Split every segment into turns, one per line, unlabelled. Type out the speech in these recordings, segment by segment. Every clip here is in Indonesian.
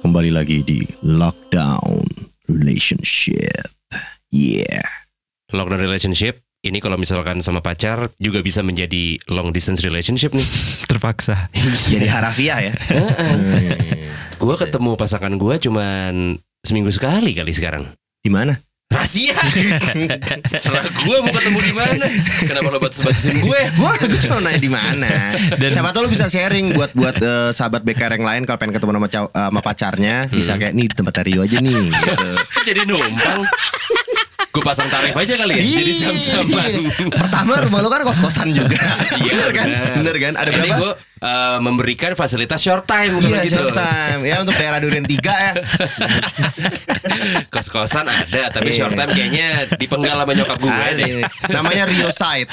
kembali lagi di Lockdown Relationship. Yeah.
Lockdown relationship ini kalau misalkan sama pacar juga bisa menjadi long distance relationship nih.
terpaksa
Jadi harafiah ya.
Gua ketemu pasangan gua cuman seminggu sekali kali sekarang.
Di mana?
Rahasia. Serah gua mau ketemu di mana? Kenapa lo buat sebatasin gue?
Gua gue cuma nanya di mana.
Dan-
Siapa tahu lu bisa sharing buat buat eh, sahabat BKR yang lain kalau pengen ketemu sama, cow- eh, sama pacarnya bisa kayak nih di tempat Rio aja nih. Gitu.
Jadi numpang. Gue pasang tarif aja kali ya. Jadi jam-jaman.
Iya. Pertama rumah lu kan kos-kosan juga.
Iya,
bener kan?
bener.
Bener kan? Ada
Ini
berapa?
gue Eh, memberikan fasilitas short time kalau
Iya,
gitu.
short time. Ya untuk daerah Duren 3 ya.
Kos-kosan ada, tapi
Iya.
short time kayaknya dipenggal sama nyokap gue
Ada.
deh.
Namanya Rio Side.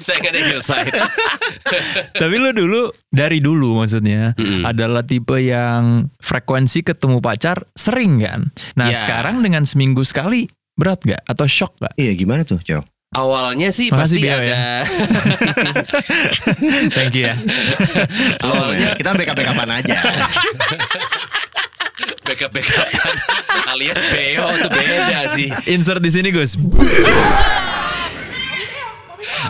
Saya kan nggak ada hillside.
tapi lu dulu dari dulu maksudnya adalah tipe yang frekuensi ketemu pacar sering kan nah
Ya.
sekarang dengan seminggu sekali berat gak atau shock gak
Iya, gimana tuh, Cow?
Awalnya sih pasti
Makasih, Beo, ya.
ada.
thank you ya
Awalnya
Iya. kita backup-backupan aja.
backup backup alias beo itu beda sih.
insert di sini Gus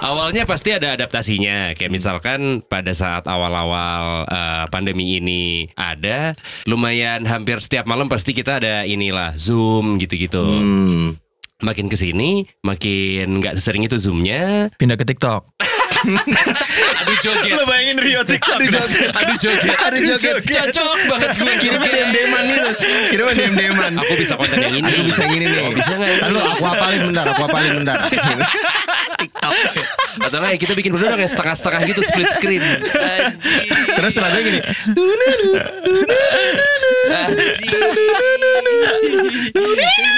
Awalnya pasti ada adaptasinya. Kayak misalkan pada saat awal-awal eh, pandemi ini ada lumayan hampir setiap malam pasti kita ada inilah Zoom gitu-gitu.
Hmm.
Makin ke sini makin nggak sesering itu Zoomnya.
pindah ke TikTok
Aduh joget.
bayangin Rio TikTok
Aduh joget.
Aduh, joget.
Cocok banget gue
Kiriman DM-an itu. Kiriman DM-an.
Aku bisa konten yang ini.
Aku bisa yang ini nih.
Oh, bisa nggak ya?
Lalu aku apalin bentar, aku apalin bentar. TikTok.
Atau nggak ya, kita bikin berdua dong yang setengah-setengah gitu split screen. Anjing.
Terus lagunya gini.
Anjing.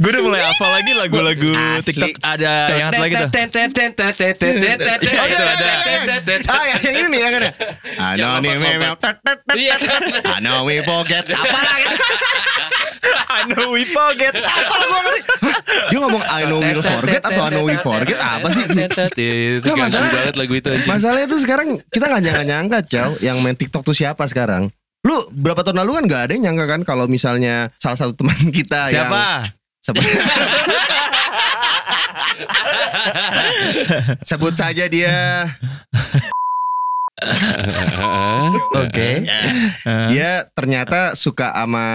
gue udah mulai hafal lagi lagu-lagu
Asli.
TikTok ada yang satu lagi tuh
Oh, iya,
Itu
iya,
ada.
iya, iya. Ah, yang yang ini nih, yang ada. I know
Yang
me, me, me, tet,
lompat-lompat.
tet, tet,
Iya.
tet. I know we forget. Apalah kan?
Ah,
I know we forget
Apalah gua ngerti. Hah, Dia ngomong I know we'll forget atau I know we forget apa sih?
Itu
Nggak,
ganteng
masalah.
banget lagu itu anjing.
Masalahnya tuh sekarang kita nggak nyangka nyangka Chow yang main TikTok tuh siapa sekarang? Lu berapa tahun lalu kan nggak ada yang nyangka kan kalau misalnya salah satu teman kita yang
siapa
sebut, sebut saja dia
Oke.
dia ternyata suka ama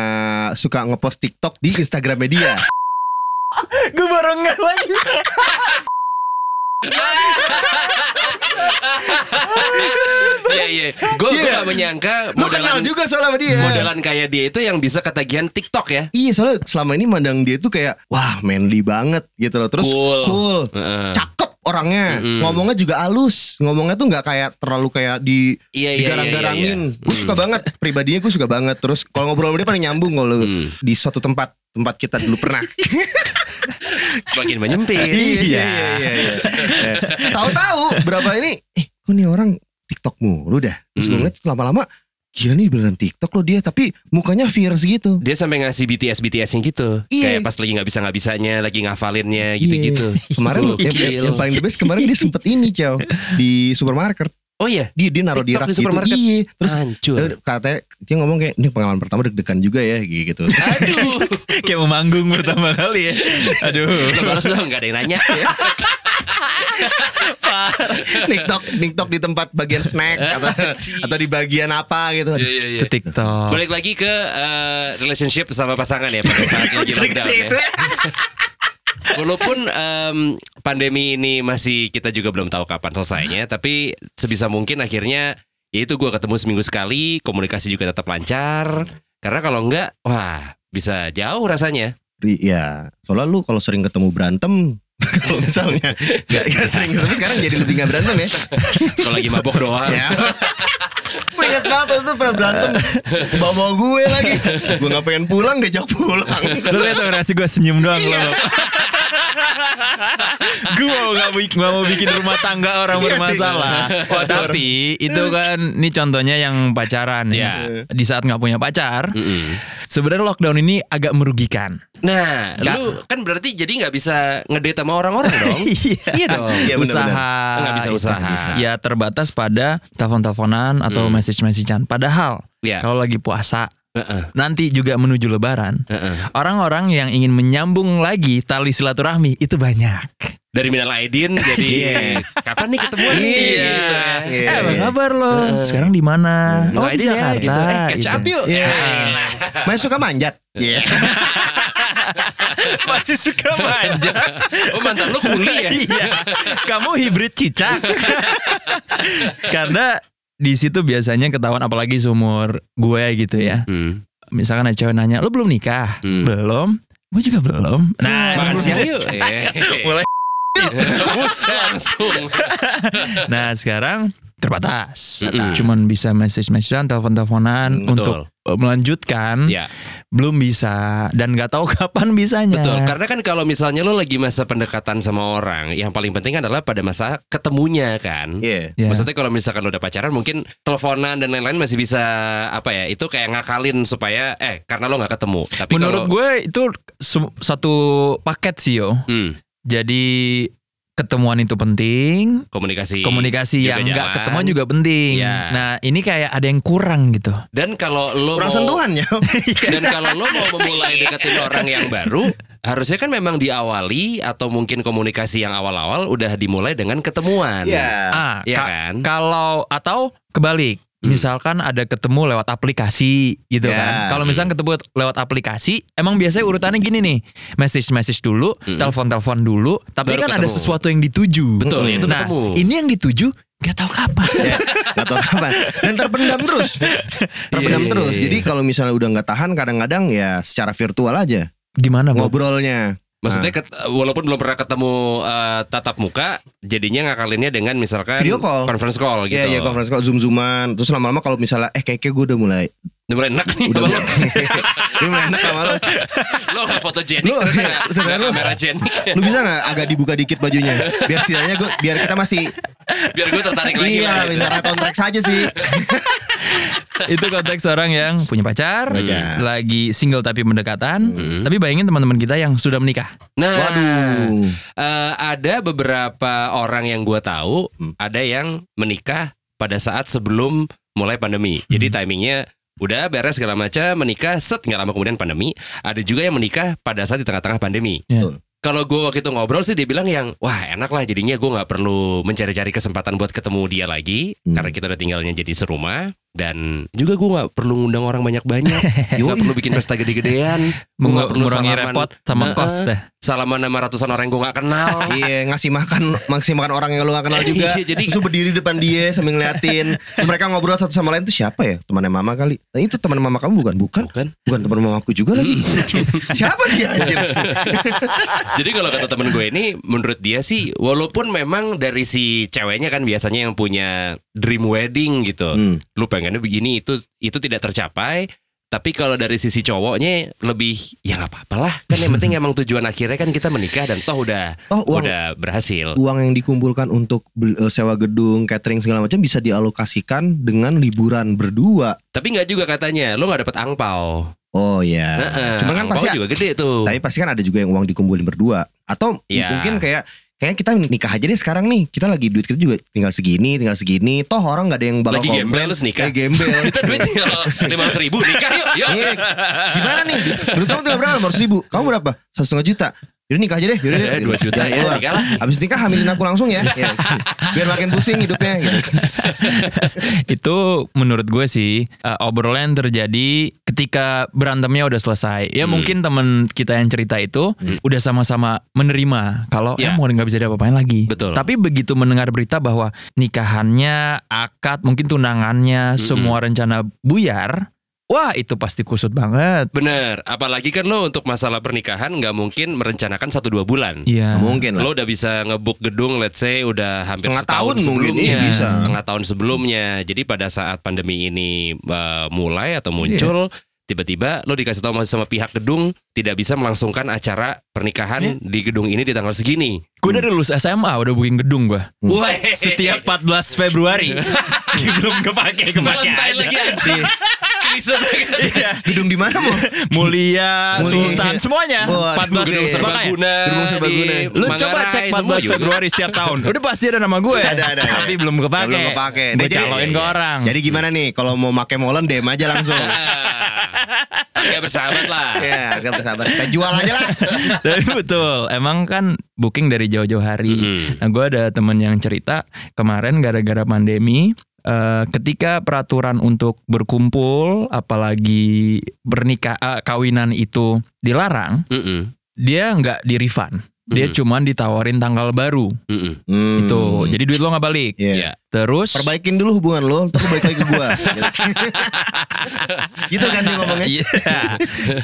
suka ngepost TikTok di Instagram dia.
gue baru nggak lagi
Iya iya. Gue
Iya.
gak menyangka
Lu kenal
modelan
juga soalnya sama dia.
modelan kayak dia itu yang bisa ketagihan TikTok ya.
Iya soalnya selama ini mandang dia tuh kayak wah manly banget gitu loh. Terus
Cool.
cool.
Heeh.
cakep orangnya
Mm-mm.
ngomongnya juga halus ngomongnya tuh nggak kayak terlalu kayak di
Iya, iya,
digarang-garangin
iya, iya, iya.
gue suka banget pribadinya gue suka banget terus kalau ngobrol sama dia paling nyambung kalau
Hmm.
di suatu tempat tempat kita dulu pernah
Makin menyempit.
iya, iya. Eh, tahu-tahu berapa ini eh kok nih orang TikTok mulu dah terus gue
Mm.
ngeliat lama-lama gila nih beneran TikTok loh dia tapi mukanya fierce gitu
Dia sampai ngasih BTS BTS-nya gitu.
Iya. Iya,
Kayak pas lagi nggak bisa nggak bisanya, lagi ngafalinnya gitu-gitu.
kemarin
Gokil.
yang, yang paling the best kemarin dia sempet ini cow di supermarket
Oh iya,
dia dia naruh di
TikTok
rak
di
gitu
supermarket.
iya terus
hancur.
Eh, katanya dia ngomong kayak ini pengalaman pertama deg-degan juga ya gitu.
Aduh.
kayak mau manggung pertama kali ya aduh
Lo balas dong, gak ada yang nanya.
Iya. niktok niktok di tempat bagian snack atau, atau di bagian apa gitu.
Iya, iya, iya.
ke TikTok
Balik lagi ke eh, relationship sama pasangan ya pada saat lagi
Jadi ke
lockdown ya.
situ ya.
Walaupun em, pandemi ini masih kita juga belum tahu kapan selesainya, tapi sebisa mungkin akhirnya ya itu gue ketemu seminggu sekali, komunikasi juga tetap lancar. Karena kalau enggak, wah bisa jauh rasanya.
Ri- Ya, soalnya lu kalau sering ketemu berantem kalau misalnya gak, gak sering ketemu sekarang jadi lebih gak berantem ya.
Kalau lagi mabok doang.
ya. Gue inget banget waktu itu pernah berantem Bawa-bawa gue lagi Gue gak pengen pulang Diajak pulang
lu lihat dong reaksi gue senyum doang lo gue mau nggak bi- nggak mau bikin rumah tangga orang
Iya sih.
bermasalah Oh,
Waduh.
tapi itu kan ini contohnya yang pacaran ya di saat nggak punya pacar
Mm-mm.
sebenarnya lockdown ini agak merugikan
Nah,
Nggak.
lu kan berarti jadi nggak bisa ngedate sama orang-orang dong.
Iya.
iya dong.
Iya, benar-benar.
usaha gitu.
Nggak bisa usaha.
ya terbatas pada telepon-teleponan atau message-messagean padahal
Iya.
Kalau lagi puasa,
Heeh,
nanti juga menuju lebaran.
heeh.
Orang-orang yang ingin menyambung lagi tali silaturahmi itu banyak.
Dari Minal Aidin jadi
Iya.
kapan nih ketemuan nih?
Iya.
Gitu kan.
Iya.
Eh, apa kabar lo? Sekarang di mana?
Minal
Oh, di
Aidin ya,
Jakarta.
gitu. Eh, kecap
gitu.
yuk.
Iya.
Ya, elah.
Main suka manjat. Iya.
Masih suka manja.
Oh mantan lu kuli ya?
Iya. Kamu hibrid cicak. Karena di situ biasanya ketahuan apalagi seumur gue gitu ya.
Hmm.
Misalkan ada cewek nanya, "Lo belum nikah?"
Hmm.
Belum. Gue juga belum. Nah,
Makan
Belum.
siang
jadi-
yuk.
Mulai.
Buset, langsung.
Nah, sekarang terbatas.
Mm-mm. Mm,
Cuman bisa message-messagean, telepon-teleponan
Betul.
untuk eh, melanjutkan.
Ya,
Belum bisa dan nggak tahu kapan bisanya.
betul. Karena kan kalau misalnya lo lagi masa pendekatan sama orang, yang paling penting adalah pada masa ketemunya kan.
Iya.
Ya.
Maksudnya kalau misalkan lo udah pacaran mungkin teleponan dan lain-lain masih bisa apa ya itu kayak ngakalin supaya eh karena lo nggak ketemu. Tapi
Menurut
kalau,
gue itu se- satu paket sih yo.
Hmm,
Jadi ketemuan itu penting,
komunikasi.
komunikasi
juga
yang nggak
jalan.
ketemuan juga penting.
Iya.
Nah ini kayak ada yang kurang gitu.
Dan kalau lo
Kurang
mau-
sentuhan ya.
Dan kalau lo mau memulai deketin orang yang baru, harusnya kan memang diawali atau mungkin komunikasi yang awal-awal udah dimulai dengan ketemuan.
Ah,
Iya
ka-
kan?
kalau atau kebalik.
Hmm. Iya,
Misalkan ada ketemu lewat aplikasi gitu
Ya.
kan.
hmm.
Kalau misalkan ketemu lewat aplikasi, emang biasanya urutannya gini nih. Message-message dulu,
Hmm.
telepon-telepon dulu, tapi
Baru
kan ada
ketemu.
sesuatu yang dituju.
Betul, itu
nah,
ketemu.
ini yang dituju nggak tahu kapan.
Gak tau kapan Dan terpendam terus Terpendam
Iya, iya,
terus
iya.
Jadi kalau misalnya udah gak tahan Kadang-kadang ya secara virtual aja
Gimana, Bob?
Ngobrolnya
Maksudnya
Ah.
ket- walaupun belum pernah ketemu eh, tatap muka, jadinya ngakalinnya dengan misalkan
Video call.
conference call gitu.
Iya iya conference call Zoom-zooman Terus lama-lama kalau misalnya Eh kayaknya gue udah mulai
Udah mulai enak nih.
Udah
Lo,
mulai Ini mulai enak sama lo
lo gak fotogenik,
Lo-
ternyata
ternyata
nggak
lo-
kameragenik.
Lu bisa gak agak dibuka dikit bajunya Biar setidaknya gue Biar kita masih
Biar gue tertarik lagi. lah Nah.
Iya
gitu.
misalnya kontrak saja sih
itu konteks orang yang punya pacar,
Pacar.
lagi single tapi mendekatan.
Iya. Hmm.
Tapi bayangin teman-teman kita yang sudah menikah.
Nah,
Waduh
Eh, ada beberapa orang yang gue tahu ada yang menikah pada saat sebelum mulai pandemi. Jadi timingnya udah beres segala macam menikah set nggak lama kemudian pandemi. Ada juga yang menikah pada saat di tengah-tengah pandemi.
Iya.
Kalau gue waktu itu ngobrol sih dia bilang yang wah enak lah jadinya gue nggak perlu mencari-cari kesempatan buat ketemu dia lagi
Hmm.
karena kita udah tinggalnya jadi serumah dan juga gue nggak perlu ngundang orang banyak-banyak, nggak
Yoi.
perlu bikin pesta gede-gedean, gue nggak perlu
Mengurangi
salaman,
repot sama
Nah,
kos dah.
salaman sama ratusan orang yang gue nggak kenal.
Iya ngasih makan ngasih makan orang yang lu gak kenal juga.
Iya, jadi-
Terus lu berdiri depan dia sambil ngeliatin. Terus mereka ngobrol satu sama lain tuh siapa ya? Temannya mama kali. Nah, itu teman mama kamu bukan? Bukan.
Bukan.
Bukan teman mama aku juga lagi.
Hmm.
siapa dia anjir?
Jadi kalau kata temen gue ini menurut dia sih walaupun memang dari si ceweknya kan biasanya yang punya dream wedding gitu.
Hmm.
Lu pengennya begini itu itu tidak tercapai. Tapi kalau dari sisi cowoknya lebih ya nggak apa-apa lah kan yang penting emang tujuan akhirnya kan kita menikah dan toh udah
Oh, uang
udah berhasil.
uang yang dikumpulkan untuk bel- eh, sewa gedung, catering segala macam bisa dialokasikan dengan liburan berdua.
Tapi nggak juga katanya lu nggak dapet angpau.
Oh ya.
Heeh, Oh,
Cuman kan
angpau
pasti
juga gede tuh.
tapi pasti kan ada juga yang uang dikumpulin berdua atau
Iya.
mungkin kayak kayak kita nikah aja deh sekarang nih. Kita lagi duit kita juga tinggal segini, tinggal segini. Toh orang nggak ada yang bakal
Lagi
komplain.
gembel terus nikah.
Kayak gembel.
Kita duit lima ratus ribu nikah yuk. yuk.
Iya, gimana nih? Menurut kamu tinggal berapa? 500 ribu. Kamu berapa? Satu setengah juta. Yaudah nikah aja deh. Yaudah deh.
Eh, dua juta
Jangan
ya,
keluar.
nikah lah.
Abis nikah hamilin aku langsung ya. Ya. Biar makin pusing hidupnya. Gitu.
Itu menurut gue sih eh, obrolan yang terjadi ketika berantemnya udah selesai. Ya
Hmm.
mungkin teman kita yang cerita itu udah sama-sama menerima kalau
Ya.
ya. mau nggak bisa diapa-apain lagi.
Betul.
Tapi begitu mendengar berita bahwa nikahannya, akad, mungkin
Hmm,
tunangannya, semua rencana buyar, wah itu pasti kusut banget.
Bener, apalagi kan lo untuk masalah pernikahan nggak mungkin merencanakan satu dua bulan.
Iya.
Mungkin lah.
Lo udah bisa ngebuk gedung let's say udah hampir
Setengah
setahun
tahun mungkin,
sebelumnya,
iya bisa.
setengah tahun sebelumnya. Jadi pada saat pandemi ini uh, mulai atau muncul
Iya.
tiba-tiba lo dikasih tahu masih sama pihak gedung tidak bisa melangsungkan acara
Iya.
pernikahan di gedung ini di tanggal segini.
Gue dari lulus SMA udah booking gedung gue.
Hmm.
Wah,
Iya. Setiap 14 Februari belum kepake kepake
Valentine
aja.
lagi anjing. Allison.
Gedung di mana mau?
Mulia,
Mulia.
Sultan semuanya
Waduh, Oke.
Gedung
14 Makanya,
serbaguna.
Gedung serbaguna.
di
Lu coba
Manggarai,
cek
semua
14
juga.
Februari setiap tahun. Udah pasti ada nama gue.
Ada, ada, ada.
Tapi belum kepake.
Belum kepake.
Gue
Nah, jadi-
caloin ke orang.
Jadi gimana nih kalau mau make molen DM aja langsung.
Ah, Agak Nah, bersahabat lah.
ya, agak bersabar. Kita jual aja lah.
Tapi betul, emang kan booking dari jauh-jauh hari.
Mm-mm.
Nah, gue ada temen yang cerita kemarin gara-gara pandemi, eh, ketika peraturan untuk berkumpul, apalagi bernikah, eh, kawinan itu dilarang,
Mm-mm.
dia nggak di refund. Dia
Mhm.
cuman ditawarin tanggal baru
Mm-mm.
Hmm.
itu. Jadi duit lo nggak balik. Ya,
Iya.
Iya.
Terus
Perbaikin dulu hubungan lo, terus balik lagi ke gua. Gitu. gitu kan dia ngomongnya.
Iya.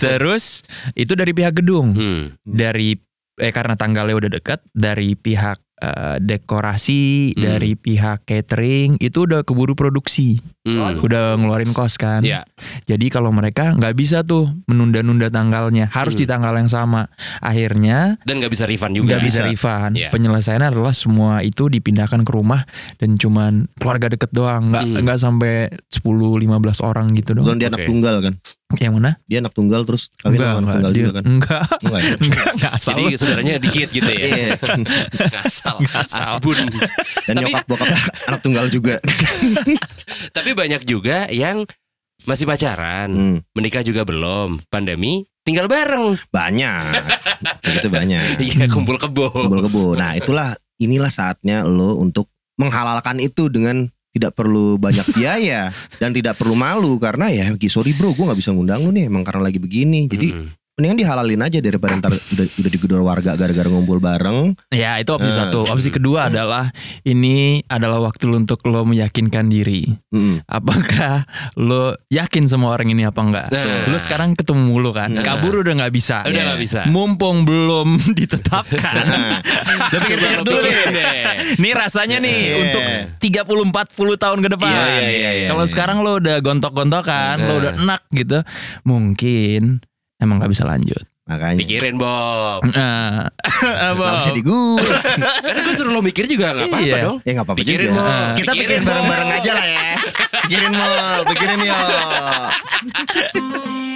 Terus itu dari pihak gedung.
Hmm.
dari eh karena tanggalnya udah deket dari pihak eh, dekorasi
Hmm.
dari pihak catering itu udah keburu produksi
Hmm.
udah ngeluarin kos kan
Iya.
jadi kalau mereka nggak bisa tuh menunda-nunda tanggalnya harus
Hmm.
di tanggal yang sama akhirnya
Dan nggak bisa refund juga.
nggak bisa refund
Iya.
penyelesaiannya adalah semua itu dipindahkan ke rumah dan cuman keluarga deket doang nggak
Hmm.
nggak sampai 10-15 orang gitu
Bukan
doang
dia anak
Oke.
tunggal kan?
yang mana
Dia anak tunggal terus kawin sama anak tunggal
dia-
juga kan?
enggak
Enggak. ya?
enggak enggak asal
Jadi saudaranya dikit gitu ya.
Iya.
Ngasal.
asal.
Asbun.
Dan
Tapi-
nyokap bokap anak tunggal juga.
Tapi banyak juga yang masih pacaran,
Hmm,
menikah juga belum, pandemi tinggal bareng.
banyak. itu banyak.
Iya, kumpul kebo.
Kumpul kebo. Nah, itulah inilah saatnya lo untuk menghalalkan itu dengan tidak perlu banyak biaya dan tidak perlu malu karena ya sorry bro gue nggak bisa ngundang lu nih emang karena lagi begini jadi
Mm-mm.
mendingan dihalalin aja daripada ntar udah, udah digedor warga gara-gara ngumpul bareng
Ya itu opsi
Eh.
Nah.
satu. Opsi
Hmm.
kedua adalah ini adalah waktu lu untuk lo meyakinkan diri.
Mm-mm.
Apakah lo yakin semua orang ini apa enggak?
Nah.
Lo sekarang ketemu mulu kan?
Nah.
Kabur udah nggak
iya.
bisa. Iya.
udah nggak bisa. Nah.
Mumpung belum ditetapkan.
Lo pikir-pikir
lo
dulu deh.
pikirin deh.
Nih rasanya nih
Iya.
untuk 30 40 tahun ke depan.
Nah. Iya, iya, iya, iya.
Kalau sekarang lo udah gontok-gontokan,
Nah.
lo udah enak gitu, mungkin emang nggak bisa lanjut.
makanya
Pikirin Bob.
Eh, apa?
Kenapa sih di gue
Karena gue suruh lo mikir juga nggak apa-apa
Iya.
dong.
Ya nggak apa-apa
Pikirin,
juga.
Mo.
Kita
Pikirin,
pikirin
Mo.
bareng-bareng aja lah ya. Pikirin mau, pikirin yo.